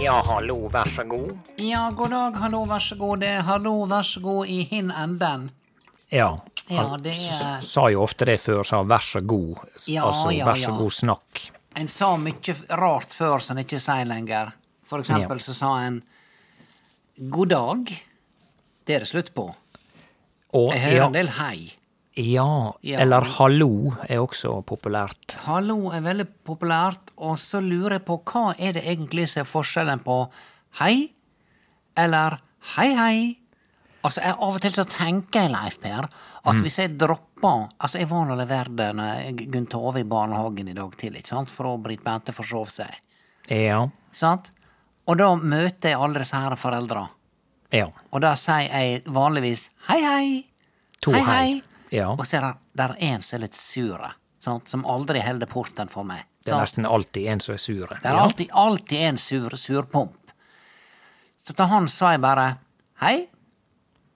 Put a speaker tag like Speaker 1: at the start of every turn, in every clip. Speaker 1: Ja, hallo, vær så god.
Speaker 2: Ja, god dag, hallo, vær så god. Det er hallo, vær så god i hin enden.
Speaker 3: Ja.
Speaker 2: Ja,
Speaker 3: Han
Speaker 2: det er-
Speaker 3: s- sa jo ofte det før, sa 'vær så god'. S-
Speaker 2: Ja,
Speaker 3: altså,
Speaker 2: ja,
Speaker 3: vær så
Speaker 2: ja.
Speaker 3: god snakk.
Speaker 2: En sa mye rart før som en ikke sier lenger. For eksempel så sa en god dag. Det er det slutt på.
Speaker 3: Og
Speaker 2: Jeg hører
Speaker 3: ja,
Speaker 2: en del hei.
Speaker 3: ja,
Speaker 2: Ja.
Speaker 3: eller 'hallo' er også populært.
Speaker 2: Hallo er veldig populært, og så lurer jeg på hva er det egentlig som er forskjellen på hei eller hei, hei? Altså, jeg Av og til så tenker jeg, Leif Per, at
Speaker 3: Mm.
Speaker 2: hvis jeg dropper Altså, jeg var nå levert Gunn Tove i barnehagen i dag tidlig, ikke sant, for å Britt Bente forsov seg.
Speaker 3: Ja.
Speaker 2: Sant? Og da møter jeg alle disse her foreldra,
Speaker 3: Ja.
Speaker 2: og da sier jeg vanligvis hei, hei.
Speaker 3: To
Speaker 2: Hei,
Speaker 3: hei.
Speaker 2: hei.
Speaker 3: Ja.
Speaker 2: Og så er det der er en som er litt sur, sant, som aldri holder porten for meg.
Speaker 3: Det er
Speaker 2: sant?
Speaker 3: nesten alltid en som er sur.
Speaker 2: Det er
Speaker 3: Ja.
Speaker 2: alltid, alltid en sur, surpomp. Så til han sa jeg bare Hei,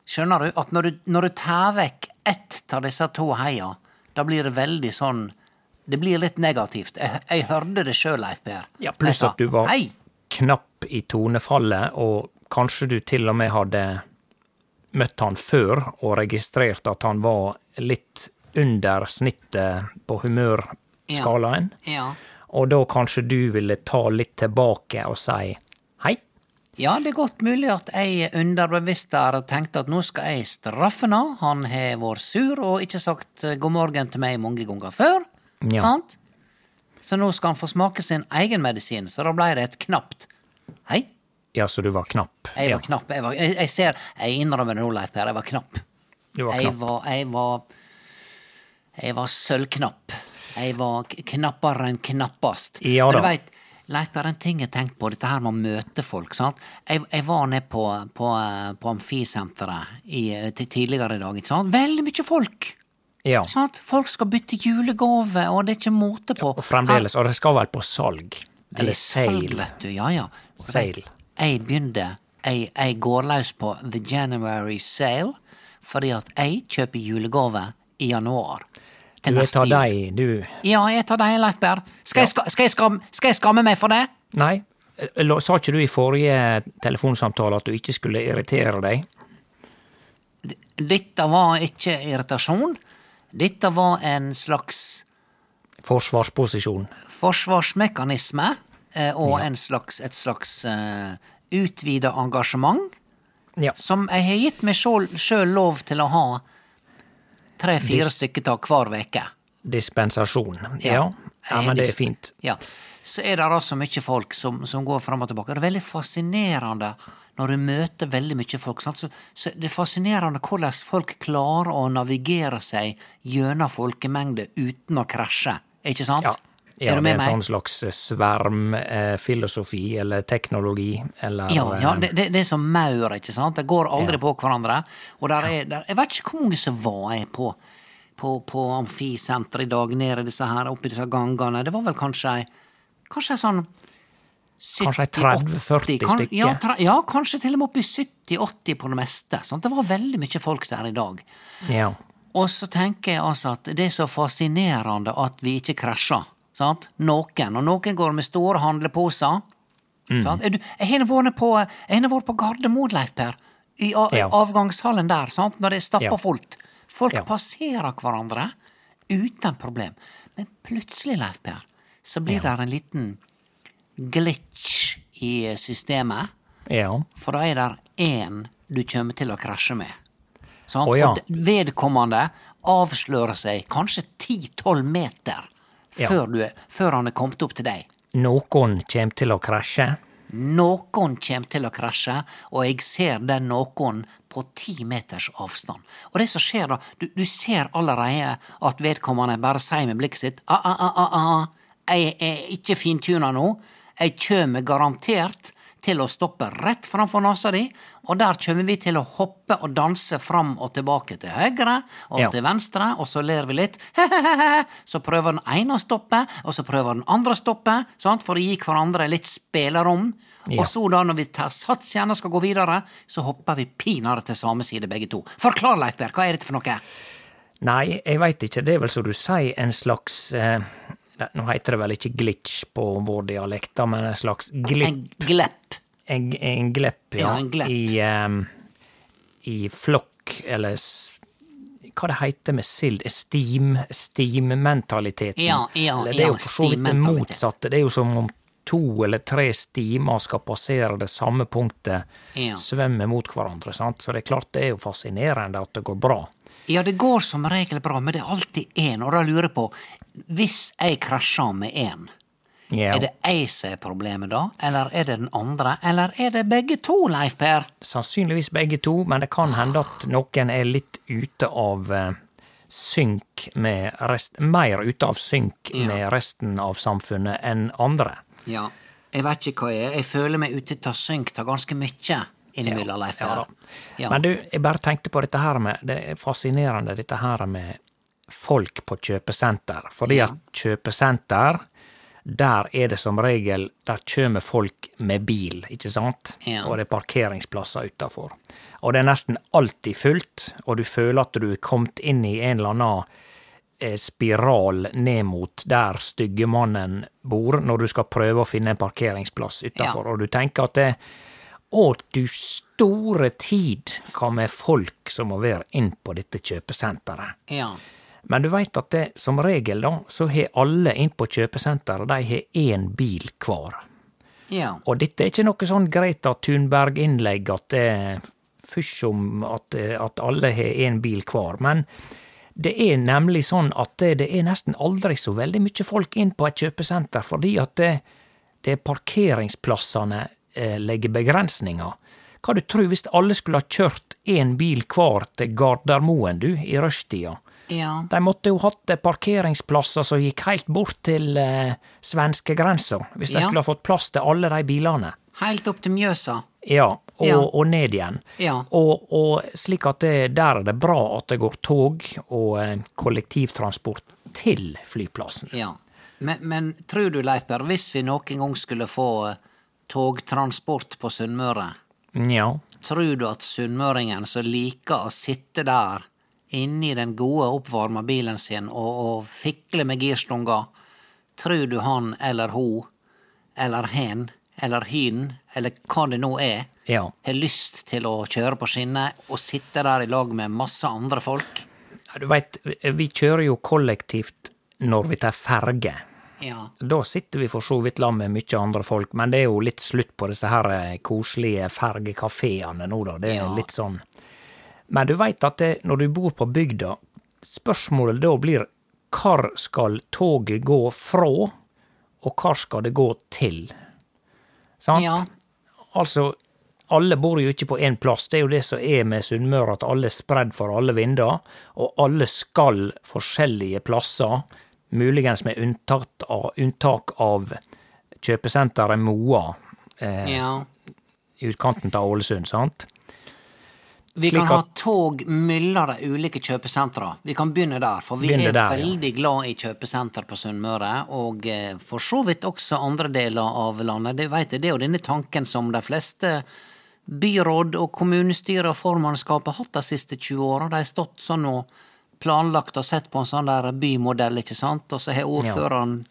Speaker 2: skjønner du at når du, når du tar vekk ett av disse to heia, da blir det veldig sånn Det blir litt negativt. Jeg, jeg hørte det sjøl, Leif Per.
Speaker 3: Ja, pluss
Speaker 2: Jeg sa,
Speaker 3: at du var
Speaker 2: Hei!
Speaker 3: knapp i tonefallet, og kanskje du til og med hadde møtt han før og registrert at han var litt under snittet på humørskalaen.
Speaker 2: Ja.
Speaker 3: Og da kanskje du ville ta litt tilbake og si hei.
Speaker 2: ja, det er godt mulig at jeg underbevisst der tenkte at nå skal jeg straffe han. Han har vært sur og ikke sagt eh, god morgen til meg mange ganger før.
Speaker 3: Ja.
Speaker 2: Sant? Så nå skal han få smake sin egen medisin, så da ble det et knapt Hei.
Speaker 3: Ja, så du var knapp.
Speaker 2: Jeg var
Speaker 3: ja,
Speaker 2: knapp. Jeg, var, jeg, jeg ser Jeg innrømmer det nå, Leif Per, jeg var knapp.
Speaker 3: du var
Speaker 2: Jeg
Speaker 3: knapp.
Speaker 2: var Jeg var, jeg var sølvknapp. Jeg var k- knappere enn knappast.
Speaker 3: Ja
Speaker 2: Men
Speaker 3: da.
Speaker 2: du vet, Leif Per, en ting jeg tenkte på, dette her med å møte folk, sant. Jeg, jeg var nede på, på, eh, på Amfisenteret i, til tidligere i dag, ikke sant. Veldig mye folk.
Speaker 3: Ja.
Speaker 2: Sant? Folk skal bytte julegave, og det er ikke måte på.
Speaker 3: Og fremdeles, og det skal vel på salg.
Speaker 2: Det
Speaker 3: Eller
Speaker 2: er salg,
Speaker 3: seil.
Speaker 2: vet du. Ja, ja. Og
Speaker 3: Seil.
Speaker 2: vet, Jeg begynte jeg, jeg går løs på The January Sale fordi at jeg kjøper julegave i januar.
Speaker 3: Du
Speaker 2: Til
Speaker 3: jeg
Speaker 2: neste
Speaker 3: tar
Speaker 2: jul.
Speaker 3: deg, du.
Speaker 2: Ja, jeg tar deg, Leif Berr. Skal, jeg ska- skal, jeg skam- skal jeg skamme meg for det?
Speaker 3: Nei, la- sa ikke du i forrige telefonsamtale at du ikke skulle irritere deg?
Speaker 2: Dette var ikke irritasjon. Dette var en slags
Speaker 3: Forsvarsposisjon.
Speaker 2: forsvarsmekanisme eh, og en slags, et slags uh, utvida engasjement
Speaker 3: Ja.
Speaker 2: som jeg har gitt meg sjøl lov til å ha tre-fire
Speaker 3: Hvis-
Speaker 2: stykker av hver uke.
Speaker 3: Dispensasjon. Ja. ja, men det er fint.
Speaker 2: Ja. Så er det altså mye folk som, som går fram og tilbake. Det er veldig fascinerende når du møter veldig mye folk, sant? Så, så det er fascinerende hvordan folk klarer å navigere seg gjennom folkemengder uten å krasje, ikke sant?
Speaker 3: Ja. Ja, det er en sånn slags svermfilosofi eh, eller teknologi eller
Speaker 2: Ja, ja
Speaker 3: eh,
Speaker 2: det, det, det er som maur, ikke sant? Det går aldri på hverandre. Og der er, der, jeg vet ikke hvor mange som var jeg på, på, på amfisenteret i dag, nede i disse her, oppe i disse gangene. Det var vel kanskje Kanskje sånn 70,
Speaker 3: Kanskje 30-40
Speaker 2: kan- Ja,
Speaker 3: stykker.
Speaker 2: tre- ja, kanskje til og med opp i 70-80 på det meste. Sant? Det var veldig mye folk der i dag.
Speaker 3: ja.
Speaker 2: Og så tenker jeg altså at det er så fascinerende at vi ikke krasjer. Sant? Noen. Og noen går med store handleposer.
Speaker 3: Mm.
Speaker 2: Sant? Er du- Jeg har vært på, jeg har vært på Gardermoen, Leif Per. I a-
Speaker 3: Ja.
Speaker 2: avgangshallen der, sant? når det er stappa
Speaker 3: Ja.
Speaker 2: fullt. Folk
Speaker 3: Ja.
Speaker 2: passerer hverandre uten problem. Men plutselig, Leif Per, så blir det en liten glitch i systemet.
Speaker 3: ja.
Speaker 2: For da er der én du kommer til å krasje med. Sant?
Speaker 3: Å, ja.
Speaker 2: Og d- vedkommende avslører seg kanskje 10-12 meter
Speaker 3: Ja.
Speaker 2: før, du, er- før han er kommet opp til deg.
Speaker 3: Noen kommer til å krasje.
Speaker 2: Noen kommer til å krasje, og jeg ser den noen på ti meters avstand. Og det som skjer da, du, du ser allerede at vedkommende bare sier med blikket sitt ah, ah, ah, ah, ah. Jeg er ikke fintuna nå. Jeg kjem garantert til å stoppe rett framfor nesa di, og der kjem vi til å hoppe og danse fram og tilbake til høyre og
Speaker 3: Ja.
Speaker 2: til venstre, og så ler vi litt. Så prøver den ene å stoppe, og så prøver den andre å stoppe, sant? for å gi hverandre litt spillerom. Og så da, når vi tar sats igjen og skal gå videre, så hopper vi pinadø til samme side, begge to. Forklar, Leifberg, hva er dette for noe?
Speaker 3: Nei, jeg veit ikke. Det er vel som du sier, en slags eh, ne- Nå heter det vel ikke glitch på vår dialekt, da, men en slags glipp.
Speaker 2: En glepp.
Speaker 3: En, en glepp, ja.
Speaker 2: Ja, en glepp.
Speaker 3: I, em, I flokk, eller s- hva det heter med sild? Steam, steam-mentaliteten.
Speaker 2: Ja, ja,
Speaker 3: Eller det er
Speaker 2: ja,
Speaker 3: jo for så vidt det
Speaker 2: steam-mentalitet.
Speaker 3: motsatte. Det er jo som om to eller tre stimer skal passere det samme punktet,
Speaker 2: Ja.
Speaker 3: svømme mot hverandre. sant? Så det er klart det er jo fascinerende at det går bra.
Speaker 2: Ja, det går som regel bra, men det er alltid én, og da lurer jeg på, hvis jeg krasjer med én,
Speaker 3: Ja,
Speaker 2: er det jeg som er problemet da, eller er det den andre, eller er det begge to, Leif Per?
Speaker 3: Sannsynligvis begge to, men det kan hende at noen er litt ute av eh, synk med rest, mer ute av synk med resten av samfunnet enn andre.
Speaker 2: Ja. Jeg vet ikke hva jeg er. Jeg føler meg ute til å synke av ganske mye innimellom, Leif
Speaker 3: Ja da.
Speaker 2: Per. Ja.
Speaker 3: Men du, jeg bare tenkte på dette her med Det er fascinerende, dette her med folk på kjøpesenter. Fordi at kjøpesenter, der er det som regel Der kommer folk med bil, ikke sant?
Speaker 2: Ja.
Speaker 3: Og det er parkeringsplasser utafor. Og det er nesten alltid fullt, og du føler at du er kommet inn i en eller annen eh, spiral ned mot der styggemannen bor, når du skal prøve å finne en parkeringsplass utafor.
Speaker 2: Ja.
Speaker 3: Og du tenker at det, Å, du store tid, hva med folk som må være inn på dette kjøpesenteret?
Speaker 2: ja.
Speaker 3: Men du veit at det, som regel, da, så har alle inn på kjøpesenteret, de har én bil hver.
Speaker 2: ja.
Speaker 3: Og dette er ikke noe sånn Greta Thunberg-innlegg at det er fysj om at, eh, at alle har én bil hver, men det er nemlig sånn at det, det er nesten aldri så veldig mye folk inn på et kjøpesenter, fordi at det, det er parkeringsplassene eh, legger begrensninger. Hva du tror hvis alle skulle ha kjørt én bil hver til Gardermoen, du, i rushtida?
Speaker 2: Ja.
Speaker 3: De måtte jo hatt eh, parkeringsplasser som gikk helt bort til eh, svenskegrensa, hvis de
Speaker 2: Ja.
Speaker 3: skulle ha fått plass til alle de bilene.
Speaker 2: Helt opp til Mjøsa.
Speaker 3: Ja, og,
Speaker 2: Ja.
Speaker 3: og ned igjen.
Speaker 2: Ja.
Speaker 3: Og, og slik at det, der er det bra at det går tog og eh, kollektivtransport til flyplassen.
Speaker 2: Ja. Men, men tror du, Leif Per, hvis vi noen gang skulle få eh, togtransport på Sunnmøre,
Speaker 3: Ja.
Speaker 2: tror du at sunnmøringen som liker å sitte der inni den gode, oppvarma bilen sin og, og fikle med girstunga, tror du han eller hun eller hen eller hyn eller hva det nå er,
Speaker 3: Ja.
Speaker 2: har lyst til å kjøre på skinner og sitte der i lag med masse andre folk?
Speaker 3: Nei, Du veit, vi kjører jo kollektivt når vi tar ferge.
Speaker 2: Ja.
Speaker 3: Da sitter vi for så vidt sammen med mye andre folk, men det er jo litt slutt på disse her eh, koselige fergekafeene nå, da. Det er
Speaker 2: Ja.
Speaker 3: litt sånn Men du veit at det, når du bor på bygda, spørsmålet da blir hvor skal toget gå fra, og hvor skal det gå til? Sant?
Speaker 2: Ja.
Speaker 3: Altså, alle bor jo ikke på én plass, det er jo det som er med Sunnmøre, at alle er spredd for alle vinder, og alle skal forskjellige plasser, muligens med unntatt av, unntak av kjøpesenteret Moa eh,
Speaker 2: Ja.
Speaker 3: i utkanten av Ålesund, sant?
Speaker 2: Vi
Speaker 3: Slik
Speaker 2: kan ha
Speaker 3: at-
Speaker 2: tog myller av ulike kjøpesentra. Vi kan begynne der, for vi
Speaker 3: Begynne
Speaker 2: er
Speaker 3: der, ja.
Speaker 2: veldig glad i kjøpesenter på Sunnmøre, og eh, for så vidt også andre deler av landet. Det, vet jeg, det er jo denne tanken som de fleste byråd og kommunestyre og formannskap har hatt de siste 20 åra. De har stått sånn og planlagt og sett på en sånn der bymodell, ikke sant, og så har ordføreren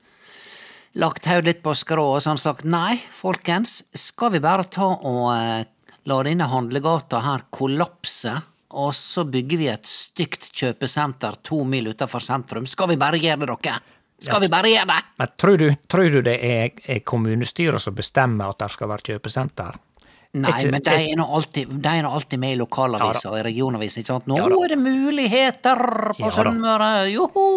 Speaker 2: lagt hodet litt på skrå og sånn sagt nei, folkens, skal vi bare ta og eh, la denne handlegata her kollapse, og så bygger vi et stygt kjøpesenter to mil utenfor sentrum? Skal vi bare gjøre det, dere? Skal vi bare gjøre det?
Speaker 3: Men tror du, tror du det er, er kommunestyret som bestemmer at det skal være kjøpesenter?
Speaker 2: Nei,
Speaker 3: Ikke-
Speaker 2: men de er nå alltid, de er nå alltid med i lokalaviser og i regionaviser, ikke sant? Nå
Speaker 3: Ja da.
Speaker 2: er det muligheter på
Speaker 3: Ja da.
Speaker 2: Sunnmøre! Joho!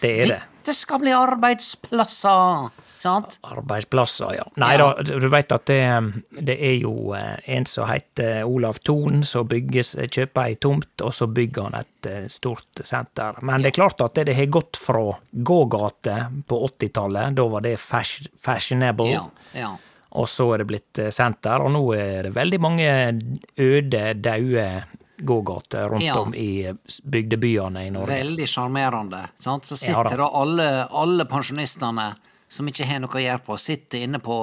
Speaker 3: Det er det.
Speaker 2: Dette skal bli arbeidsplasser! Sant?
Speaker 3: Arbeidsplasser, ja. Nei da, du veit at det, eh, det er jo eh, en som heter eh, Olav Thon, som bygges, eh, kjøper ei tomt, og så bygger han et eh, stort senter. Men det er klart at det- det har gått fra gågate på 80-tallet, da var det fash, fashionable,
Speaker 2: Ja, ja.
Speaker 3: og så er det blitt eh, senter, og nå er det veldig mange øde, daue gågater rundt
Speaker 2: Ja.
Speaker 3: om i eh, bygdebyene i Norge.
Speaker 2: Veldig sjarmerende. sant? Så
Speaker 3: Ja da.
Speaker 2: sitter da alle, alle pensjonistene som ikke har noe å gjøre på, sitter inne på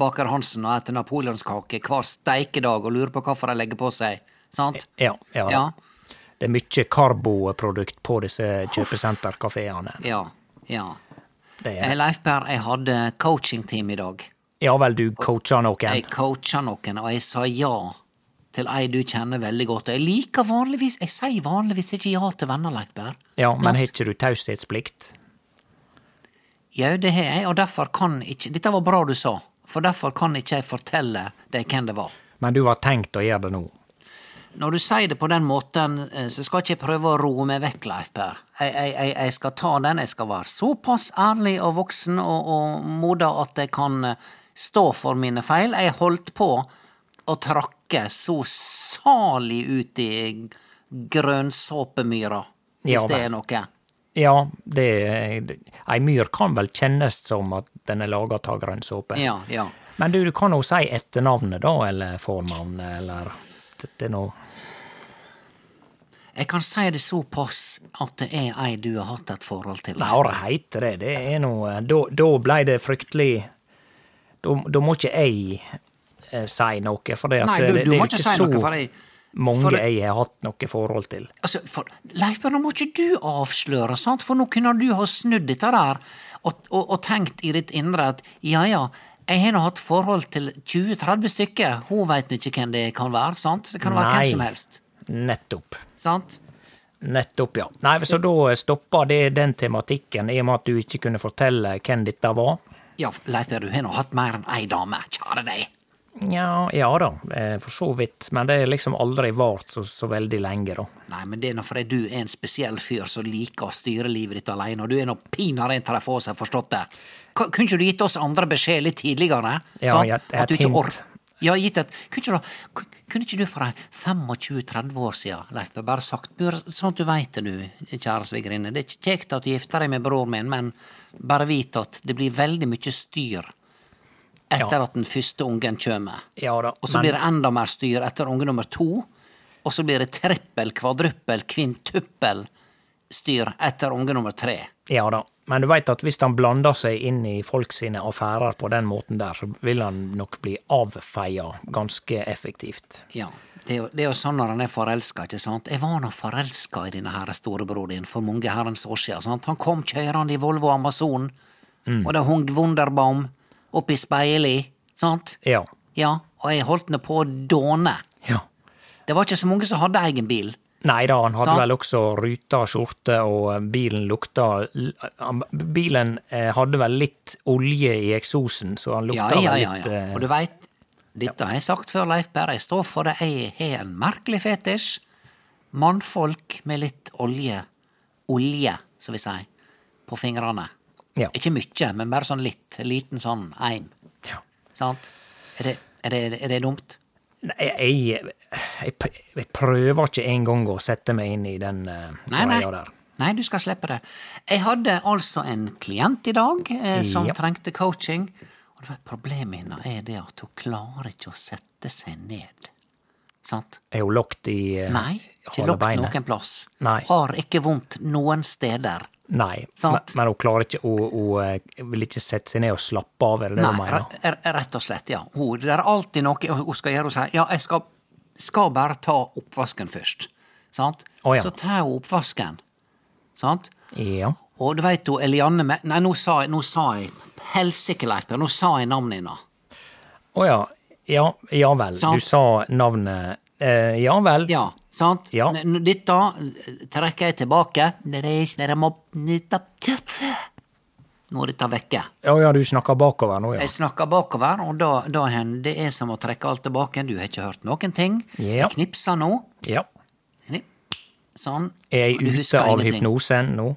Speaker 2: Baker Hansen og etter napoleonskake hver steikedag og lurer på hvorfor de legger på seg. Sant?
Speaker 3: Ja, ja.
Speaker 2: Ja.
Speaker 3: Det er mye karboprodukt på disse kjøpesenterkafeene.
Speaker 2: Ja. ja.
Speaker 3: Det er
Speaker 2: Eh, Leif Per, jeg hadde coachingteam i dag.
Speaker 3: Ja vel, du coacher noen.
Speaker 2: Jeg coacha noen, og jeg sa ja til ei du kjenner veldig godt. Og Jeg liker vanligvis Jeg sier vanligvis ikke ja til venner, Leif Per.
Speaker 3: Ja, men har ikke du taushetsplikt?
Speaker 2: Jau, det har jeg, og derfor kan ikke Dette var bra du sa, for derfor kan ikke jeg fortelle deg hvem det var.
Speaker 3: Men du har tenkt å gjøre det nå?
Speaker 2: Når du sier det på den måten, eh, så skal ikke jeg prøve å roe meg vekk, Leif Per. Jeg, jeg, jeg, jeg skal ta den, jeg skal være såpass ærlig og voksen og, og modig at jeg kan eh, stå for mine feil. Jeg holdt på å trakke så salig ut i grønnsåpemyra, hvis
Speaker 3: Ja,
Speaker 2: det
Speaker 3: vel.
Speaker 2: er noe.
Speaker 3: Ja, det er- Ei myr kan vel kjennes som at den er laga av grønn såpe.
Speaker 2: Ja, ja.
Speaker 3: Men du, du kan jo si etternavnet, da, eller fornavnet, eller det, det er noe
Speaker 2: Jeg kan si det såpass at det er ei du har hatt et forhold til. Leif.
Speaker 3: Bare heite det. Det er noe Da, da blei det fryktelig Da, da må ikke jeg eh, si noe, for det, at,
Speaker 2: Nei,
Speaker 3: det,
Speaker 2: du,
Speaker 3: det
Speaker 2: du
Speaker 3: er jo
Speaker 2: må ikke
Speaker 3: ikke
Speaker 2: si
Speaker 3: så
Speaker 2: noe, for jeg
Speaker 3: mange
Speaker 2: for det-
Speaker 3: jeg har hatt noe forhold til.
Speaker 2: Altså, for, Leif, men nå må ikke du avsløre, sant? for nå kunne du ha snudd dette der og, og, og tenkt i ditt indre at ja ja, jeg har nå hatt forhold til 20-30 stykker, hun veit ikke hvem det kan være, sant? Det kan være hvem som helst.
Speaker 3: Nettopp.
Speaker 2: Sant?
Speaker 3: Nettopp, ja. Nei, Så da stoppa det den tematikken, i og med at du ikke kunne fortelle hvem dette var?
Speaker 2: Ja, Leif, du har nå hatt mer enn ei dame, kjære deg.
Speaker 3: Nja, ja da, eh, for så vidt. Men det er liksom aldri vart så, så veldig lenge, da.
Speaker 2: Nei, men det er nå fordi du er en spesiell fyr som liker å styre livet ditt alene, og du er nå pinadø en til de få som har forstått det. K kunne ikke du gitt oss andre beskjed litt tidligere?
Speaker 3: Ja,
Speaker 2: sant?
Speaker 3: jeg- jeg
Speaker 2: At du ikke
Speaker 3: hint.
Speaker 2: ork- Ja, gitt et Kunne ikke du, kun- kunne ikke du for ei 25-30 år siden, Leif, bare sagt «Du, Sånn at du veit det, du, kjære svigerinne. Det er ikke kjekt at du gifter deg med broren min, men bare vit at det blir veldig mye styr etter at den første ungen kommer.
Speaker 3: Ja da,
Speaker 2: Og så
Speaker 3: men-
Speaker 2: blir det enda mer styr etter unge nummer to. Og så blir det trippel, kvadruppel, kvintuppel styr etter unge nummer tre.
Speaker 3: Ja da. Men du veit at hvis han blander seg inn i folk sine affærer på den måten der, så vil han nok bli avfeia ganske effektivt.
Speaker 2: Ja, det er, jo, det er jo sånn når en er forelska, ikke sant. Jeg var nå forelska i denne herre storebror din for mange herrens år siden. Sant? Han kom kjørende i Volvo Amazon,
Speaker 3: Mm.
Speaker 2: og det hung Wunderbaum oppi speilet, sant?
Speaker 3: Ja.
Speaker 2: Ja, og jeg holdt nå på å dåne.
Speaker 3: ja.
Speaker 2: Det var ikke så mange som hadde egen bil.
Speaker 3: Nei da, han hadde
Speaker 2: Sant?
Speaker 3: vel også ruta skjorte, og eh, bilen lukta l- han- Bilen eh, hadde vel litt olje i eksosen, så han
Speaker 2: Ja,
Speaker 3: lukta
Speaker 2: ja,
Speaker 3: vel
Speaker 2: ja,
Speaker 3: litt
Speaker 2: ja.
Speaker 3: eh,
Speaker 2: Og du veit, dette har jeg sagt før, Leif Berre, jeg står for det, jeg har en merkelig fetisj. Mannfolk med litt olje, olje, som vi sier, på fingrene.
Speaker 3: Ja.
Speaker 2: Ikke mye, men bare sånn litt, liten sånn eim.
Speaker 3: Ja.
Speaker 2: Sant? Er det, er det, er det dumt?
Speaker 3: Nei, jeg, jeg, p- jeg prøver ikke engang å sette meg inn i den eh,
Speaker 2: Nei, nei.
Speaker 3: greia der.
Speaker 2: Nei, du skal slippe det. Jeg hadde altså en klient i dag eh, som
Speaker 3: Ja.
Speaker 2: trengte coaching. Og det var problemet hennes er det at hun klarer ikke å sette seg ned. Sant?
Speaker 3: Er hun lagt i eh,
Speaker 2: Nei, ikke
Speaker 3: halve
Speaker 2: lokk
Speaker 3: beinet?
Speaker 2: noen plass.
Speaker 3: Nei.
Speaker 2: Har ikke vondt noen steder.
Speaker 3: Nei, men,
Speaker 2: Sant.
Speaker 3: men hun klarer ikke å, hun, eh, vil ikke sette seg ned og slappe av, er det det
Speaker 2: Nei,
Speaker 3: hun mener?
Speaker 2: re- re- rett og slett, ja. Hun, det er alltid noe hun skal gjøre. Hun sier ja, jeg skal, skal bare ta oppvasken først. Sant?
Speaker 3: Å, ja.
Speaker 2: Så tar hun oppvasken. Sant?
Speaker 3: Ja.
Speaker 2: Og du veit jo Elianne Me- Nei, nå sa jeg, nå sa jeg Helsike, Leif Per, nå sa jeg navnet hennes.
Speaker 3: Å ja. ja. Ja vel.
Speaker 2: Sant.
Speaker 3: Du sa navnet eh, Ja vel.
Speaker 2: Ja, sant?
Speaker 3: Ja.
Speaker 2: N- n- Dette eh, trekker jeg tilbake. Det er ikke det må nytte. Nå er dette vekke.
Speaker 3: Å ja, du snakker bakover nå, ja.
Speaker 2: Jeg snakker bakover, og da, da hen, det er som å trekke alt tilbake. Du har ikke hørt noen ting.
Speaker 3: Ja.
Speaker 2: Jeg knipser nå.
Speaker 3: ja.
Speaker 2: Knip. Sånn.
Speaker 3: Er
Speaker 2: Og du
Speaker 3: jeg ute
Speaker 2: husker
Speaker 3: av
Speaker 2: ingenting.
Speaker 3: hypnosen nå?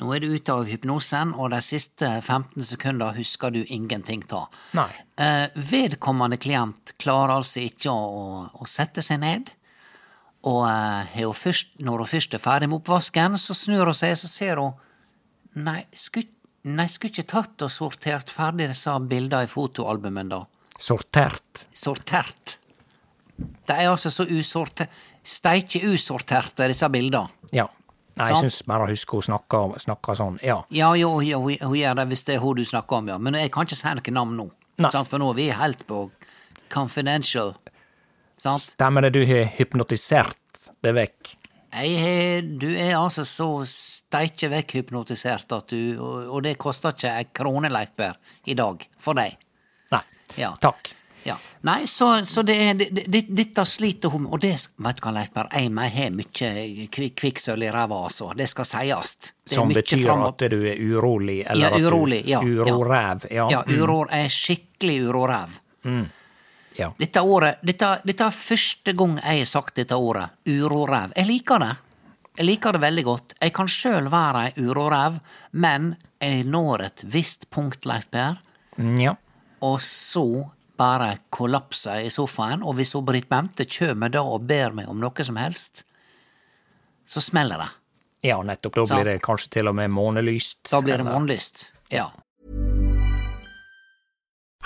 Speaker 2: Nå er du ute av hypnosen, og de siste 15 sekunder husker du ingenting av.
Speaker 3: Nei.
Speaker 2: Eh, vedkommende klient klarer altså ikke å, å sette seg ned. Og eh, har hun først, når hun først er ferdig med oppvasken, så snur hun seg så ser hun Nei, skulle nei, skulle ikke tatt og sortert ferdig disse bildene i fotoalbumen, da?
Speaker 3: Sortert.
Speaker 2: Sortert. De er altså så usorte... Steike usorterte, disse bildene.
Speaker 3: Ja. Nei, jeg
Speaker 2: Sant.
Speaker 3: syns bare å huske hun snakker, snakker sånn. Ja.
Speaker 2: Ja, jo, jo, hun hun gjør det hvis det er hun du snakker om, ja. Men jeg kan ikke si noe navn nå.
Speaker 3: Nei.
Speaker 2: Sant? For nå er vi helt på confidential. Sant?
Speaker 3: Stemmer det, du har hypnotisert det vekk?
Speaker 2: Jeg, har- du er altså så steike vekk hypnotisert at du Og, og det koster ikke ei krone, Leif Berr, i dag. For deg.
Speaker 3: Nei.
Speaker 2: Ja.
Speaker 3: Takk.
Speaker 2: Ja. Nei, så, så det er det- det- Dette sliter hun med. Og det Vet du hva, Leif Berr, jeg meg har mye kvi- kvikksølv i ræva, altså. Det skal sies. Det er
Speaker 3: Som
Speaker 2: mye
Speaker 3: betyr
Speaker 2: fram og-
Speaker 3: at du er urolig, eller
Speaker 2: Ja, urolig.
Speaker 3: at du
Speaker 2: Ja. ja.
Speaker 3: uroræv. Ja.
Speaker 2: ja
Speaker 3: mm,
Speaker 2: uro, jeg er skikkelig uroræv.
Speaker 3: ja.
Speaker 2: Dette året, dette, dette er første gang jeg har sagt dette ordet, uroræv. Jeg liker det. Jeg liker det veldig godt. Jeg kan sjøl være ei uroræv, men jeg når et visst punkt, Leif Per,
Speaker 3: Mm, ja.
Speaker 2: og så bare kollapser jeg i sofaen, og hvis hun Britt Bente kjem da og ber meg om noe som helst, så smeller det.
Speaker 3: Ja, nettopp. Da
Speaker 2: Sant.
Speaker 3: blir det kanskje til og med månelyst.
Speaker 2: Da blir det
Speaker 3: eller-
Speaker 2: månelyst. Ja.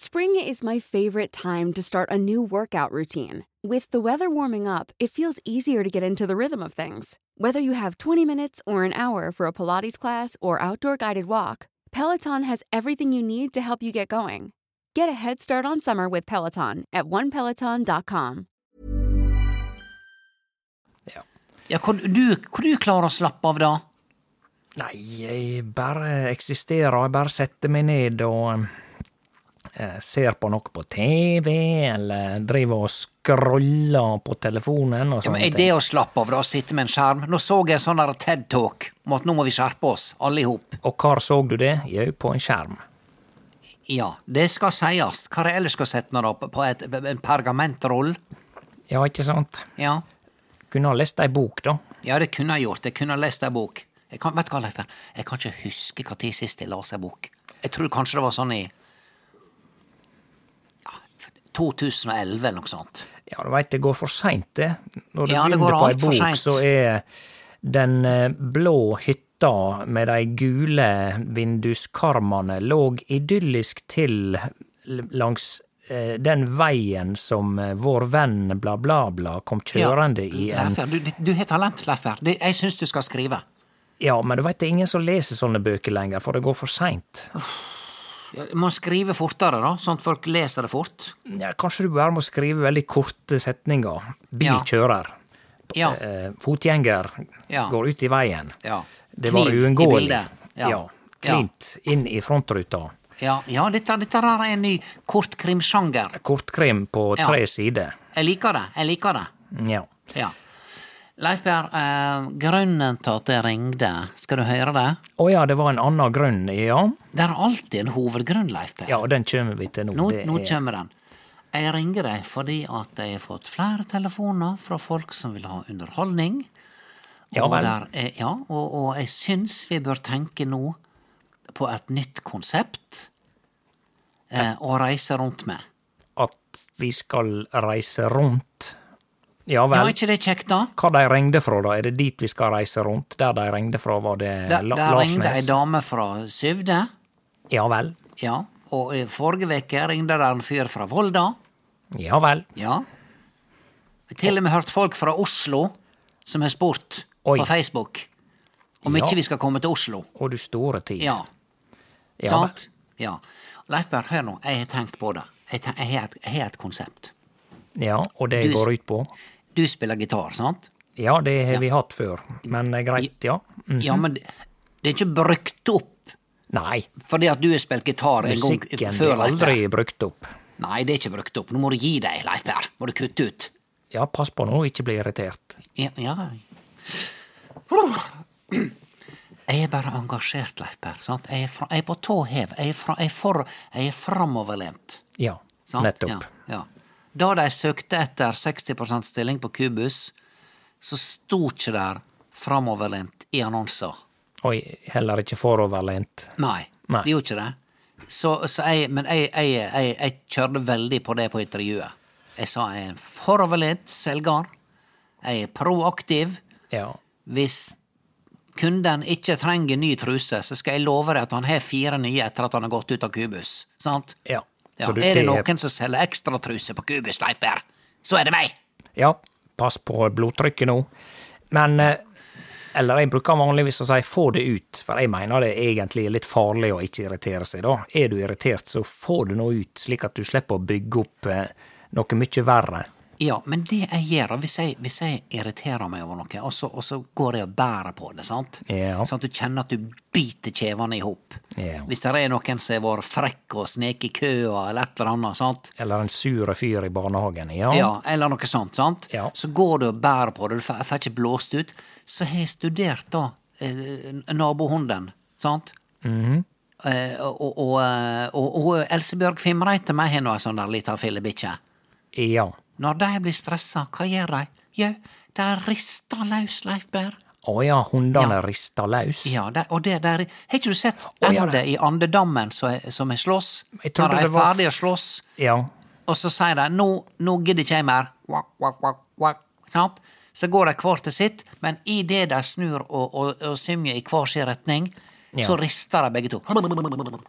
Speaker 4: Spring is my favorite time to start a new workout routine. With the weather warming up, it feels easier to get into the rhythm of things. Whether you have 20 minutes or an hour for a Pilates class or outdoor guided walk, Peloton has everything you need to help you get going. Get a head start on summer with Peloton at onepeloton.com.
Speaker 2: ja hvor, du, hvor du klarer å slappe av da?
Speaker 3: Nei, jeg bare eksisterer. Jeg bare setter meg ned og eh, ser på noe på TV, eller driver og scroller på telefonen og
Speaker 2: Ja, men
Speaker 3: sånne
Speaker 2: er det
Speaker 3: ting.
Speaker 2: å slappe av, da? å Sitte med en skjerm? Nå så jeg en sånn der TED Talk om at nå må vi skjerpe oss, alle i hop.
Speaker 3: Og hvor så du det? Jau, på en skjerm.
Speaker 2: Ja, det skal sies. Hva er det ellers skal sette nå, da? På- På et, en pergamentroll?
Speaker 3: Ja, ikke sant?
Speaker 2: Ja.
Speaker 3: Kunne ha lest ei bok, da.
Speaker 2: ja, det kunne jeg gjort. Jeg kunne ha lest ei bok. Jeg kan, vet du hva, Leif, Berr? jeg kan ikke huske når sist jeg leste ei bok. Jeg tror kanskje det var sånn i ja, 2011 eller noe sånt.
Speaker 3: Ja, du veit det går for seint, det. Når du
Speaker 2: Ja, det går
Speaker 3: begynner på ei
Speaker 2: alt for
Speaker 3: bok,
Speaker 2: sent.
Speaker 3: så er den eh, blå hytta med de gule vinduskarmene lå idyllisk til l- langs eh, den veien som eh, vår venn bla, bla, bla kom kjørende i en
Speaker 2: Leif, Berr, du, du har talent, Leif. Berr. Det- Jeg syns du skal skrive.
Speaker 3: Ja, men du veit det er ingen som leser sånne bøker lenger, for det går for seint.
Speaker 2: Ja, Man skriver fortere, da, sånn at folk leser det fort.
Speaker 3: Ja, kanskje du bare må skrive veldig korte setninger.
Speaker 2: Ja.
Speaker 3: Bilkjører.
Speaker 2: Ja.
Speaker 3: Eh, fotgjenger
Speaker 2: Ja.
Speaker 3: går ut i veien.
Speaker 2: Ja.
Speaker 3: Det var
Speaker 2: Kniv i
Speaker 3: uunngåelig.
Speaker 2: bildet. Ja.
Speaker 3: Klint inn i frontruta.
Speaker 2: Ja, ja dette, dette her er en ny kortkrimsjanger.
Speaker 3: Kortkrim på
Speaker 2: Ja.
Speaker 3: tre sider.
Speaker 2: Jeg liker det. Jeg liker det.
Speaker 3: Ja.
Speaker 2: Ja. Leif Per, eh, grunnen til at jeg ringte, skal du høre det?
Speaker 3: Å ja, det var en annen grunn, ja.
Speaker 2: Det er alltid en hovedgrunn, Leif Per.
Speaker 3: Ja, og den kommer vi til nå.
Speaker 2: Nå,
Speaker 3: Det
Speaker 2: nå
Speaker 3: er-
Speaker 2: kommer den. Jeg ringer deg fordi at jeg har fått flere telefoner fra folk som vil ha underholdning.
Speaker 3: Ja
Speaker 2: og,
Speaker 3: vel.
Speaker 2: der er, ja, og, og jeg syns vi bør tenke nå på et nytt konsept eh, å reise rundt med.
Speaker 3: At vi skal reise rundt. Ja
Speaker 2: Ja,
Speaker 3: vel.
Speaker 2: er ikke det kjekt, da?
Speaker 3: Hva de ringte fra, da? Er det dit vi skal reise rundt? Der de ringte fra, var det
Speaker 2: Der,
Speaker 3: Eh, La-
Speaker 2: der ringte ei
Speaker 3: Larsnes?
Speaker 2: dame fra Syvde.
Speaker 3: Ja vel.
Speaker 2: Ja. Og i forrige uke ringte der en fyr fra Volda.
Speaker 3: Ja vel.
Speaker 2: Ja. Jeg har til og med hørt folk fra Oslo som har spurt
Speaker 3: Oi.
Speaker 2: på Facebook om
Speaker 3: Ja.
Speaker 2: ikke vi skal komme til Oslo.
Speaker 3: Og du store tid.
Speaker 2: Ja.
Speaker 3: Ja,
Speaker 2: Sant? Ja. Leif Berr, hør nå. Jeg har tenkt på det. Jeg ten- jeg har et, jeg har et konsept.
Speaker 3: Ja, og det
Speaker 2: Du-
Speaker 3: går ut på?
Speaker 2: Du spiller gitar, sant?
Speaker 3: Ja, det har vi hatt før. Men eh, greit, ja. Mm.
Speaker 2: Ja, men det, det er ikke brukt opp
Speaker 3: Nei,
Speaker 2: fordi at du har spilt gitar en gang
Speaker 3: musikken
Speaker 2: før.
Speaker 3: blir
Speaker 2: Leif Berr.
Speaker 3: aldri brukt opp.
Speaker 2: Nei, det er ikke brukt opp. Nå må du gi deg, Leif Berr. Må du kutte ut.
Speaker 3: Ja, pass på nå, ikke bli irritert.
Speaker 2: Ja, ja. Jeg er bare engasjert, Leif Berr. sant? Jeg er, fra, jeg er på tå hev. Jeg er, fra, jeg er, for, jeg er framoverlent.
Speaker 3: Ja,
Speaker 2: sant?
Speaker 3: nettopp.
Speaker 2: Ja, ja. Da de søkte etter 60 %-stilling på Kubus, så sto ikke der framoverlent i annonser.
Speaker 3: Og heller ikke foroverlent.
Speaker 2: Nei,
Speaker 3: Nei.
Speaker 2: de gjorde ikke det. Så, så jeg, men jeg, jeg, jeg, jeg kjørte veldig på det på intervjuet. Jeg sa jeg er en foroverlent selger. Jeg er proaktiv.
Speaker 3: Ja.
Speaker 2: Hvis kunden ikke trenger ny truse, så skal jeg love deg at han har fire nye etter at han har gått ut av Kubus. Sant?
Speaker 3: Ja.
Speaker 2: Ja,
Speaker 3: Så du-
Speaker 2: er det
Speaker 3: det er-
Speaker 2: noen som selger ekstratruse på Kubus, Leif Berr, så er det meg!
Speaker 3: ja, pass på blodtrykket nå. Men eh, Eller jeg bruker vanligvis å si få det ut, for jeg mener det er egentlig litt farlig å ikke irritere seg, da. Er du irritert, så få det nå ut, slik at du slipper å bygge opp eh, noe mye verre.
Speaker 2: Ja, men det jeg gjør, hvis jeg, hvis jeg irriterer meg over noe, og så, og så går jeg og bærer på det, sant?
Speaker 3: Ja.
Speaker 2: Sånn at du kjenner at du biter kjevene i hop.
Speaker 3: Ja.
Speaker 2: Hvis det er noen som har vært frekk og sneket i køa, eller et eller annet, sant?
Speaker 3: Eller en sur fyr i barnehagen. Ja.
Speaker 2: Ja, eller noe sånt, sant?
Speaker 3: Ja.
Speaker 2: Så går du og bærer på det, du får, får ikke blåst ut. Så har jeg studert da eh, nabohunden, sant?
Speaker 3: Mhm.
Speaker 2: eh, og, og, eh, og, og Elsebjørg Fimreite, meg har nå ei sånn der lita fillebikkje.
Speaker 3: ja.
Speaker 2: Når de blir stressa, hva gjør de? Jau, de rister løs, Leif Berr.
Speaker 3: Å ja, hundene rister løs.
Speaker 2: Ja, de, og det der Har ikke du sett
Speaker 3: Å, ja,
Speaker 2: Ende i andedammen som er- som er slåss?
Speaker 3: Jeg trodde
Speaker 2: Når de er
Speaker 3: det var-
Speaker 2: ferdige å slåss,
Speaker 3: Ja.
Speaker 2: og så sier de 'nå, nå gidder ikke jeg mer', Wak, wak, wak, wak. sant? Så går de hver til sitt, men idet de snur og, og, og symjer i hver sin retning,
Speaker 3: Ja.
Speaker 2: så rister de begge to.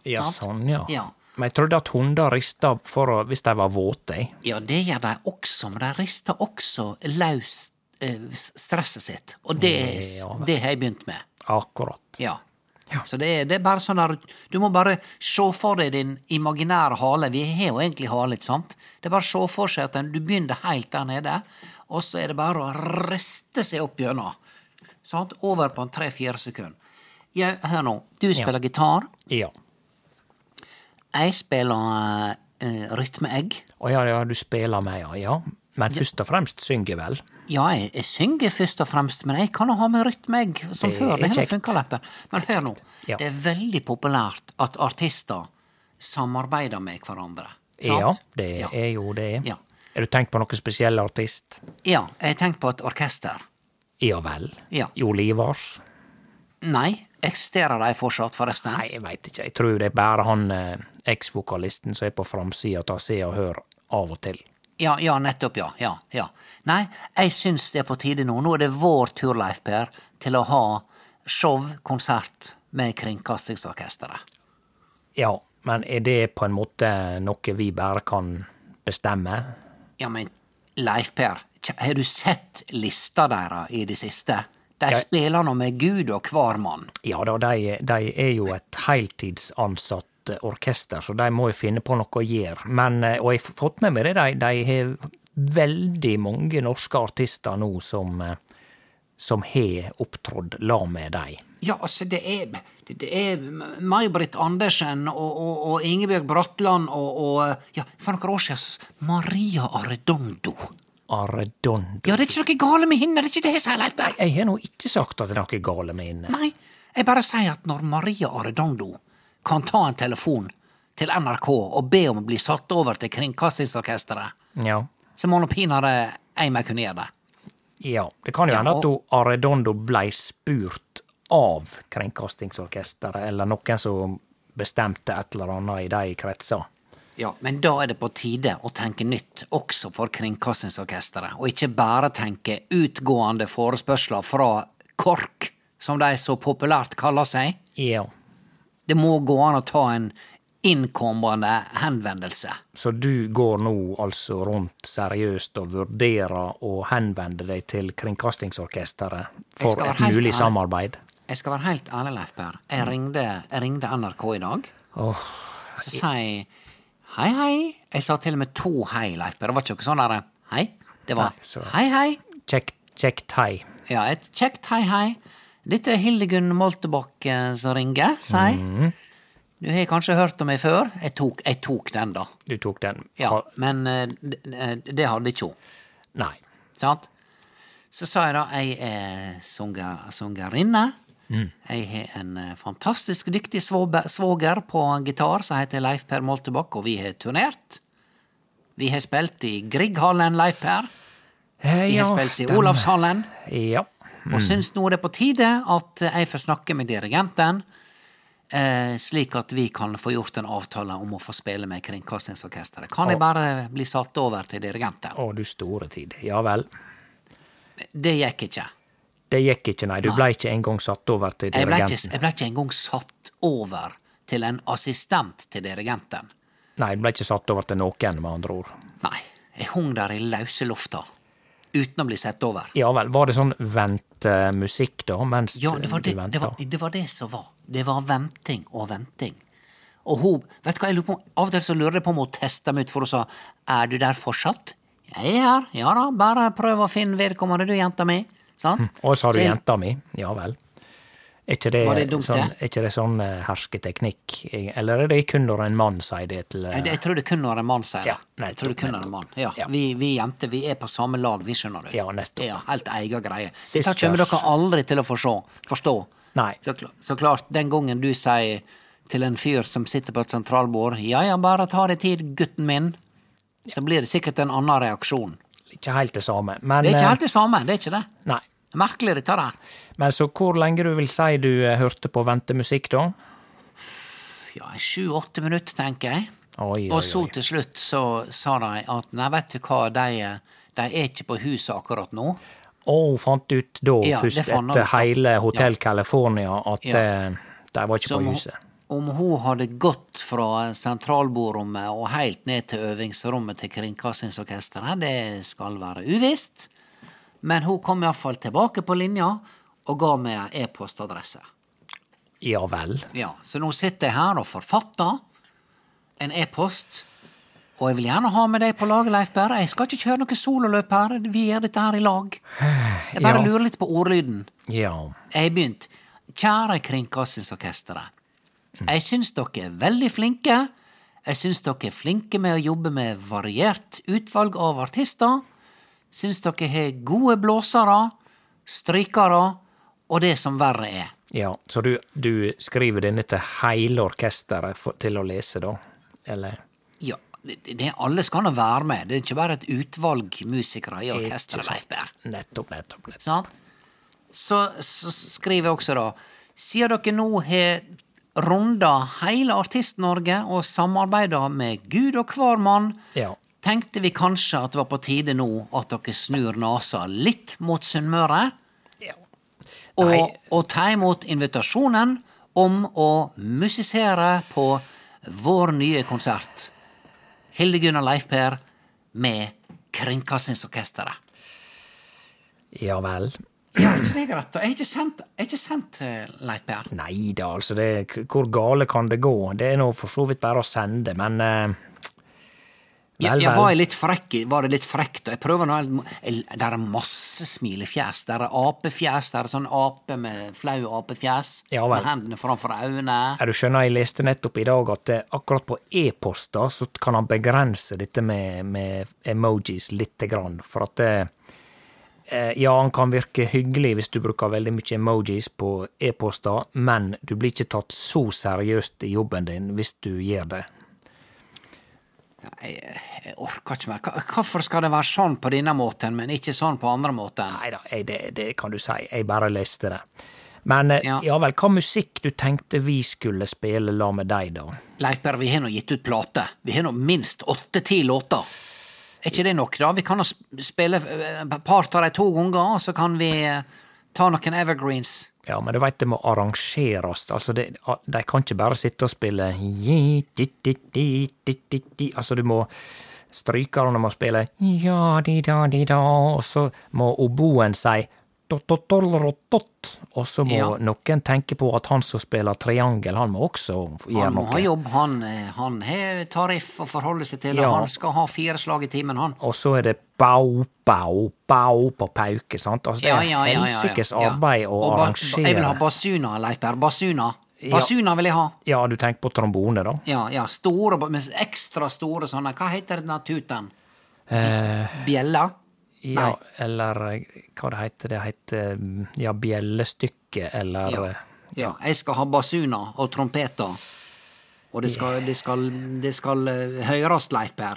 Speaker 3: Ja,
Speaker 2: Sant?
Speaker 3: sånn, ja.
Speaker 2: Ja.
Speaker 3: Men jeg trodde at hunder rista for å, hvis de var våte. jeg.
Speaker 2: Ja, det gjør de også, men de rister også løs eh, s- stresset sitt. Og det, er-
Speaker 3: Ja, vel.
Speaker 2: det har jeg begynt med.
Speaker 3: Akkurat.
Speaker 2: Ja. Så det er, det er bare sånn der Du må bare se for deg din imaginære hale. Vi har jo egentlig hale, ikke sant? Det er bare å se for seg at den- du begynner helt der nede, og så er det bare å riste seg opp gjennom. Sant? Over på en tre-fire sekunder. Ja, hør nå. Du spiller gitar.
Speaker 3: Ja.
Speaker 2: Jeg spiller eh, rytmeegg.
Speaker 3: Å ja, ja, du spiller med, ja. ja. Men først og fremst synger vel.
Speaker 2: Ja, jeg, jeg synger først og fremst, men jeg kan jo ha med rytme, jeg, som
Speaker 3: Det
Speaker 2: før.
Speaker 3: er
Speaker 2: Det har
Speaker 3: kjekt.
Speaker 2: funka, Leppe. Men hør nå.
Speaker 3: Ja.
Speaker 2: Det er veldig populært at artister samarbeider med hverandre.
Speaker 3: Ja,
Speaker 2: Sant?
Speaker 3: det
Speaker 2: ja.
Speaker 3: er jo det.
Speaker 2: Ja.
Speaker 3: Er du tenkt på noen spesiell artist?
Speaker 2: Ja, jeg tenkte på et orkester.
Speaker 3: Ja vel.
Speaker 2: Ja.
Speaker 3: Jo Livars?
Speaker 2: Nei, eksisterer de fortsatt, forresten?
Speaker 3: Nei, jeg veit ikke. Jeg tror det er bare han eh, eksvokalisten som er på framsida av Se og Hør av og til.
Speaker 2: Ja, ja, nettopp, ja. ja, ja. Nei, jeg syns det er på tide nå. Nå er det vår tur, Leif Per, til å ha show, konsert, med Kringkastingsorkesteret.
Speaker 3: Ja, men er det på en måte noe vi bare kan bestemme?
Speaker 2: Ja, men Leif Per, kj- har du sett lista deres i det siste? De
Speaker 3: Ja.
Speaker 2: spiller nå med Gud og hver mann.
Speaker 3: Ja da, de, de er jo et heltidsansatt eh, orkester, så de må jo finne på noe å gjøre. Men, eh, og jeg har fått med meg det, de, de har veldig mange norske artister nå som, eh, som har opptrådt la med dem.
Speaker 2: Ja, altså, det er, det- det er May-Britt Andersen og, og, og Ingebjørg Bratland og, og Ja, for noen år siden så- Maria Arredondo.
Speaker 3: Arredondo.
Speaker 2: Ja, det er ikke noe gale med henne, det er ikke det jeg sier, Leif Berg.
Speaker 3: Jeg har nå ikke sagt at det er noe gale med henne.
Speaker 2: Nei, jeg bare sier at når Maria Arredondo kan ta en telefon til NRK og be om å bli satt over til Kringkastingsorkesteret,
Speaker 3: Ja.
Speaker 2: så må nå pinadø jeg meg kunne gjøre det.
Speaker 3: ja. Det kan jo
Speaker 2: Ja,
Speaker 3: hende at
Speaker 2: og-
Speaker 3: hun Arredondo blei spurt av Kringkastingsorkesteret, eller noen som bestemte et eller annet i de kretser.
Speaker 2: Ja, Men da er det på tide å tenke nytt, også for Kringkastingsorkesteret, og ikke bare tenke utgående forespørsler fra KORK, som de så populært kaller seg.
Speaker 3: Ja.
Speaker 2: Det må gå an å ta en innkommende henvendelse.
Speaker 3: Så du går nå altså rundt seriøst og vurderer å henvende deg til Kringkastingsorkesteret
Speaker 2: Jeg
Speaker 3: for
Speaker 2: skal være
Speaker 3: et
Speaker 2: helt
Speaker 3: mulig
Speaker 2: ærlig.
Speaker 3: samarbeid?
Speaker 2: Jeg skal være helt ærlig, Leif Per. Jeg ringde, jeg ringde NRK i dag.
Speaker 3: Mm. Åh,
Speaker 2: Så sa jeg hei, hei. Jeg sa til og med to hei, Leif Per. Det var ikke noe sånn derre hei. Det var
Speaker 3: Nei, så-
Speaker 2: hei, hei.
Speaker 3: kjekt, kjekt hei.
Speaker 2: Ja, et kjekt hei, hei. Dette er Hildegunn Moltebakk eh, som ringer, sier
Speaker 3: Mhm.
Speaker 2: jeg. Du har kanskje hørt om meg før? Jeg tok, jeg tok den, da.
Speaker 3: Du tok den.
Speaker 2: Ja,
Speaker 3: Har-
Speaker 2: Men eh, d- eh, det hadde ikke hun.
Speaker 3: Nei.
Speaker 2: Sant? Så sa jeg da jeg er sunga- sungerinne.
Speaker 3: Mm.
Speaker 2: Jeg har en eh, fantastisk dyktig svobe- svoger på gitar som heter Leif Per Moltebakk, og vi har turnert. Vi har spilt i Grieghallen, Leif Per.
Speaker 3: Eh,
Speaker 2: Vi har
Speaker 3: ja,
Speaker 2: spilt i
Speaker 3: stemmer.
Speaker 2: Olavshallen.
Speaker 3: Ja.
Speaker 2: Og syns nå det er på tide at jeg får snakke med dirigenten, eh, slik at vi kan få gjort en avtale om å få spille med Kringkastingsorkesteret. Kan jeg bare bli satt over til dirigenten?
Speaker 3: Å, du store tid. Ja vel.
Speaker 2: Det gikk ikke.
Speaker 3: Det gikk ikke, nei. Du ble ikke engang satt over til
Speaker 2: Jeg ble ikke,
Speaker 3: dirigenten.
Speaker 2: jeg ble ikke engang satt over til en assistent til dirigenten.
Speaker 3: Nei, du ble ikke satt over til noen, med andre ord.
Speaker 2: Nei, jeg hung der i løse lufta uten å bli sett over.
Speaker 3: Ja vel. Var det sånn ventemusikk, da, mens
Speaker 2: Ja, det var
Speaker 3: du
Speaker 2: det, det,
Speaker 3: venta?
Speaker 2: var, det var det som var. Det var venting og venting. Og hun vet du hva, jeg lurer på, Av og til så lurer jeg på om hun testa meg ut, for hun sa 'Er du der fortsatt?' 'Jeg er her. Ja da, bare prøv å finne vedkommende, du, jenta mi.' Sant?
Speaker 3: Hm, Og så har du
Speaker 2: Så jeg-
Speaker 3: jenta mi. Ja vel. Er ikke det,
Speaker 2: Var det dumt,
Speaker 3: sånn,
Speaker 2: det?
Speaker 3: er ikke det sånn eh, hersketeknikk? Eller er det kun når en mann sier det til eh,
Speaker 2: Jeg, jeg tror det kun var en mann, sier
Speaker 3: Ja,
Speaker 2: jeg. Jeg tror det
Speaker 3: nettopp,
Speaker 2: kun var en mann. Ja,
Speaker 3: Ja.
Speaker 2: Vi, vi jenter vi er på samme lag, vi skjønner du.
Speaker 3: Ja, nettopp.
Speaker 2: Ja, helt egen greie. Dette
Speaker 3: Sisters.
Speaker 2: kommer dere aldri til å forstå. forstå.
Speaker 3: Nei.
Speaker 2: Så, kl- så klart, den gangen du sier til en fyr som sitter på et sentralbord Ja ja, bare ta deg tid, gutten min. Så blir det sikkert en annen reaksjon.
Speaker 3: Ikke helt det samme. Men,
Speaker 2: Det er
Speaker 3: eh,
Speaker 2: ikke helt det samme, det er ikke det.
Speaker 3: Nei.
Speaker 2: Merkelig, dette der.
Speaker 3: Men så hvor lenge du vil si du eh, hørte på ventemusikk, da?
Speaker 2: Ja, sju-åtte minutter, tenker jeg.
Speaker 3: Oi, oi,
Speaker 2: Og så
Speaker 3: oi.
Speaker 2: til slutt så sa de at nei, vet du hva, de, eh, de er ikke på huset akkurat nå.
Speaker 3: Å, fant ut da,
Speaker 2: Ja, det
Speaker 3: først
Speaker 2: fant
Speaker 3: etter
Speaker 2: han ut, da.
Speaker 3: hele Hotell
Speaker 2: Ja.
Speaker 3: California, at
Speaker 2: Ja.
Speaker 3: eh, de var ikke
Speaker 2: Så om
Speaker 3: på
Speaker 2: hun-
Speaker 3: huset.
Speaker 2: Om hun hadde gått fra sentralbordrommet og helt ned til øvingsrommet til Kringkastingsorkesteret, det skal være uvisst. Men hun kom iallfall tilbake på linja og ga meg ei e-postadresse.
Speaker 3: Ja vel.
Speaker 2: Ja, Så nå sitter jeg her og forfatter en e-post. Og jeg vil gjerne ha med deg på laget, Leif Berre. Jeg skal ikke kjøre noe sololøp her. Vi gjør dette her i lag. Jeg
Speaker 3: Ja.
Speaker 2: bare lurer litt på ordlyden.
Speaker 3: Ja.
Speaker 2: Jeg har begynt. Kjære Kringkastingsorkesteret. Jeg syns dere er veldig flinke. Jeg syns dere er flinke med å jobbe med variert utvalg av artister. Syns dere har gode blåsere, strykere og det som verre er.
Speaker 3: ja. Så du, du skriver denne til hele orkesteret for, til å lese, da? Eller?
Speaker 2: Ja, det, det, alle skal nå være med. Det er ikke bare et utvalg musikere i orkesteret, Leif Berr.
Speaker 3: Nettopp, nettopp. nettopp.
Speaker 2: Sant? Så, så skriver jeg også, da Siden dere nå har runda hele Artist-Norge og samarbeida med Gud og hver mann,
Speaker 3: Ja.
Speaker 2: tenkte vi kanskje at det var på tide nå at dere snur nesa litt mot Sunnmøre, og,
Speaker 3: Nei.
Speaker 2: og ta imot invitasjonen om å musisere på vår nye konsert. Hildegunn og Leif Per med Kringkastingsorkesteret.
Speaker 3: Ja vel.
Speaker 2: Ja, ikke det er greit. da. Jeg har ikke sendt, jeg har ikke sendt eh, Leif Per.
Speaker 3: Nei da, altså. Det, k- hvor gale kan det gå? Det er nå for så vidt bare å sende, men eh,
Speaker 2: Ja,
Speaker 3: Vel,
Speaker 2: ja,
Speaker 3: vel.
Speaker 2: var, jeg litt frekk, i- var det litt frekt? og Jeg prøver nå helt- jeg- Der er masse smilefjes. Der er apefjes. Der er sånn ape med flau apefjes.
Speaker 3: Ja vel.
Speaker 2: med hendene framfor øynene.
Speaker 3: Ja, du skjønner, jeg leste nettopp i dag at eh, akkurat på e-poster så kan han begrense dette med, med emojis lite grann, for at eh, eh, ja, han kan virke hyggelig hvis du bruker veldig mye emojis på e-poster, men du blir ikke tatt så seriøst i jobben din hvis du gjør det.
Speaker 2: Jeg orker ikke mer. Hva- Hvorfor skal det være sånn på denne måten, men ikke sånn på andre måten?
Speaker 3: Nei da, det, det kan du si. Jeg bare leste det. Men eh,
Speaker 2: Ja.
Speaker 3: ja vel, hva musikk du tenkte vi skulle spille la med deg, da?
Speaker 2: Leif Berr, vi har nå gitt ut plate. Vi har nå minst åtte-ti låter. Er ikke det nok, da? Vi kan nå sp- spille eh, et par av de to ganger, og så kan vi eh, ta noen evergreens.
Speaker 3: Ja, men du veit det må arrangeres. Altså, det, a- de kan ikke bare sitte og spille Altså, du må Strykerne må spille ja, di, da, di, da, og så må oboen si dot, dot, dot, dot. Og så må
Speaker 2: Ja.
Speaker 3: noen tenke på at han som spiller triangel, han må også gjøre
Speaker 2: Han må
Speaker 3: noe.
Speaker 2: ha jobb, han. eh, Han har tariff å forholde seg til,
Speaker 3: Ja.
Speaker 2: og han skal ha fire slag i timen, han.
Speaker 3: og så er det bau, bau, bau på pauke, sant? Altså, det er helsikes arbeid å
Speaker 2: Og ba-
Speaker 3: arrangere.
Speaker 2: Jeg vil ha basuna, Leif Berr. Basuna. Basuna vil jeg ha.
Speaker 3: ja, du tenker på trombone, da?
Speaker 2: Ja, ja, store, ba- men ekstra store sånne. Hva heter den tuten?
Speaker 3: Eh,
Speaker 2: Bjella?
Speaker 3: ja, eller eh, hva det heter det? heter mm, ja, bjellestykke, eller
Speaker 2: Ja.
Speaker 3: eh,
Speaker 2: Ja, jeg skal ha basuna og trompeter. Og det skal, det skal, det skal eh, høres, Leif Berr.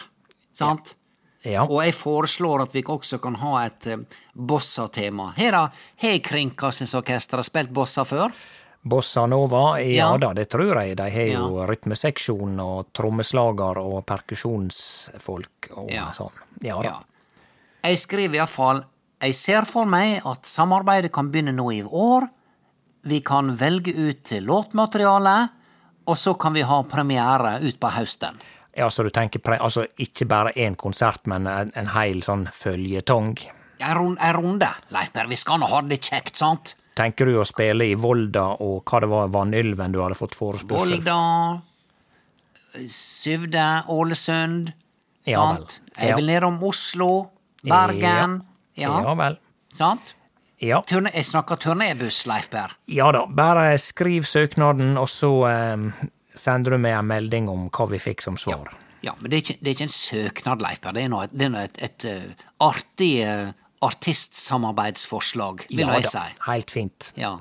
Speaker 2: Sant?
Speaker 3: Ja.
Speaker 2: Og jeg foreslår at vi også kan ha et eh, bossa-tema. Her da, Har Kringkastingsorkesteret spilt bossa før?
Speaker 3: Bossa Nova, ja,
Speaker 2: Ja.
Speaker 3: da, det tror jeg. De har jo
Speaker 2: Ja.
Speaker 3: rytmeseksjon og trommeslager og perkusjonsfolk og
Speaker 2: Ja.
Speaker 3: sånn. Ja da.
Speaker 2: Jeg skriver iallfall Jeg ser for meg at samarbeidet kan begynne nå i år. Vi kan velge ut låtmateriale, og så kan vi ha premiere utpå høsten.
Speaker 3: Ja, så du tenker pre altså ikke bare én konsert, men en, en hel sånn føljetong?
Speaker 2: En run- en runde, Leif Berr. Vi skal nå ha det kjekt, sant?
Speaker 3: Tenker du å spille i Volda og hva det var, Vanylven du hadde fått forespørsel fra?
Speaker 2: Volda, Syvde, Ålesund.
Speaker 3: Ja vel.
Speaker 2: sant? Jeg
Speaker 3: Ja.
Speaker 2: vil nedom Oslo, Bergen. Ja,
Speaker 3: ja vel.
Speaker 2: sant?
Speaker 3: Ja.
Speaker 2: Turne, jeg snakker turnébuss, Leif Berr.
Speaker 3: ja da, bare skriv søknaden, og så eh, sender du meg en melding om hva vi fikk som svar.
Speaker 2: Ja, men det er ikke, det er ikke en søknad, Leif Per. Det er nå et, det er nå et, et eh, artig eh, artistsamarbeidsforslag, vil nå jeg
Speaker 3: da,
Speaker 2: si.
Speaker 3: helt fint.
Speaker 2: Ja.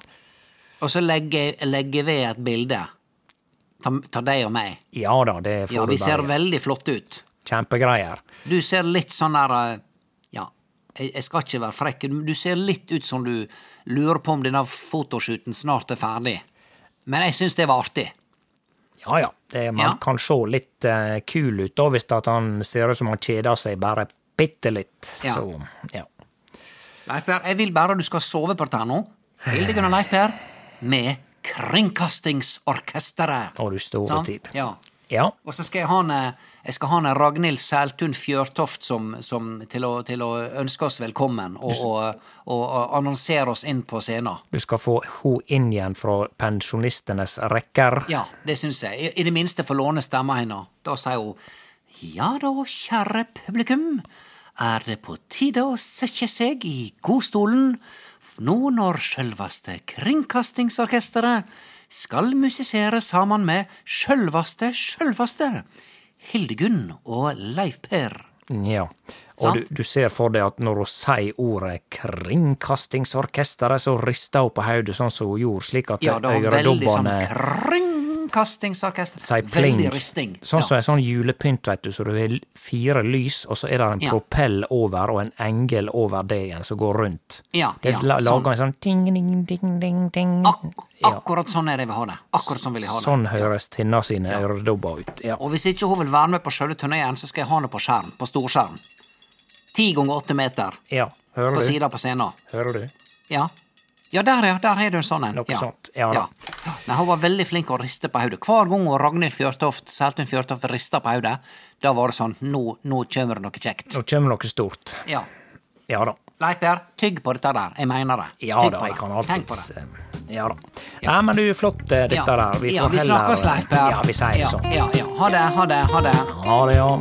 Speaker 2: Og så legger jeg legger vi et bilde. Ta, ta deg og meg.
Speaker 3: Ja da, det får
Speaker 2: Ja,
Speaker 3: du
Speaker 2: vi
Speaker 3: bare
Speaker 2: ser
Speaker 3: gjøre.
Speaker 2: veldig flotte ut.
Speaker 3: Kjempegreier.
Speaker 2: Du ser litt sånn der eh, Ja, jeg, jeg skal ikke være frekk, men du ser litt ut som du lurer på om denne fotoshooten snart er ferdig. Men jeg syns det var artig.
Speaker 3: Ja ja, det, man
Speaker 2: Ja.
Speaker 3: kan se litt eh, kul ut da, hvis at han ser ut som han kjeder seg bare bitte litt.
Speaker 2: Ja.
Speaker 3: Så, ja.
Speaker 2: Leif Per, jeg vil bare du skal sove på dette her nå. Hildegunn og Leif Per med Kringkastingsorkesteret.
Speaker 3: Og du store
Speaker 2: Sant?
Speaker 3: tid.
Speaker 2: Ja.
Speaker 3: Ja.
Speaker 2: Og så skal jeg ha en, eh, jeg skal ha en Ragnhild Sæltun Fjørtoft som, som, til, å, til å ønske oss velkommen og, og, og, og annonsere oss inn på scenen.
Speaker 3: Du skal få ho inn igjen fra pensjonistenes rekker.
Speaker 2: Ja, det syns jeg. I, I det minste få låne stemma hennes. Da sier hun Ja da, kjære publikum. Er det på tide å sette seg i godstolen nå når sjølvaste Kringkastingsorkesteret skal musisere sammen med sjølvaste sjølvaste Hildegunn og Leif Per.
Speaker 3: Ja. Og
Speaker 2: Sant?
Speaker 3: du, du ser for deg at når hun sier ordet Kringkastingsorkesteret, så rister hun på hodet sånn som hun gjorde, slik at
Speaker 2: Ja, det var veldig sånn
Speaker 3: øredobbene
Speaker 2: Kringkastingsorkester.
Speaker 3: sier pling.
Speaker 2: Veldig risting.
Speaker 3: Sånn
Speaker 2: Ja.
Speaker 3: som en sånn julepynt, vet du, så du har fire lys, og så er det en
Speaker 2: Ja.
Speaker 3: propell over og en engel over det igjen som går rundt.
Speaker 2: Ja,
Speaker 3: det
Speaker 2: ja,
Speaker 3: la-
Speaker 2: sånn.
Speaker 3: lager en sånn ting, ding, ding, ding, ding.
Speaker 2: Ak akkurat sånn er det jeg vil ha det. Akkurat sånn vil jeg ha det.
Speaker 3: Sånn høres tinna sine øredobber ut. Ja.
Speaker 2: Og hvis ikke hun vil være med på sjølve turneen, så skal jeg ha henne på skjerm. På storskjerm. Ti ganger åtte meter
Speaker 3: ja.
Speaker 2: på
Speaker 3: Hører du?
Speaker 2: sida på scenen.
Speaker 3: Hører du?
Speaker 2: Ja. Ja, der, ja. Der har du en sånn en.
Speaker 3: Noe sånt. Ja da.
Speaker 2: Nei, hun var veldig flink å riste på hodet. Hver gang hun Ragnhild Fjørtoft, Seltun Fjørtoft rista på hodet, da var det sånn Nå, nå kommer det noe kjekt.
Speaker 3: Nå kommer noe stort.
Speaker 2: Ja.
Speaker 3: Ja da.
Speaker 2: Leif Per, tygg på dette der. Jeg mener det.
Speaker 3: Ja
Speaker 2: tygg
Speaker 3: da,
Speaker 2: på
Speaker 3: jeg
Speaker 2: det.
Speaker 3: kan
Speaker 2: Tenk på
Speaker 3: alltids
Speaker 2: det.
Speaker 3: eh, Ja da. Nei, men du er flott, eh, dette
Speaker 2: ja.
Speaker 3: der. Vi
Speaker 2: ja,
Speaker 3: får
Speaker 2: vi
Speaker 3: heller
Speaker 2: snakkes, Leif Per.
Speaker 3: Ja, vi sier det
Speaker 2: ja,
Speaker 3: sånn.
Speaker 2: Ja, ja. Ha det, ha det, ha det.
Speaker 3: Ha det, ja.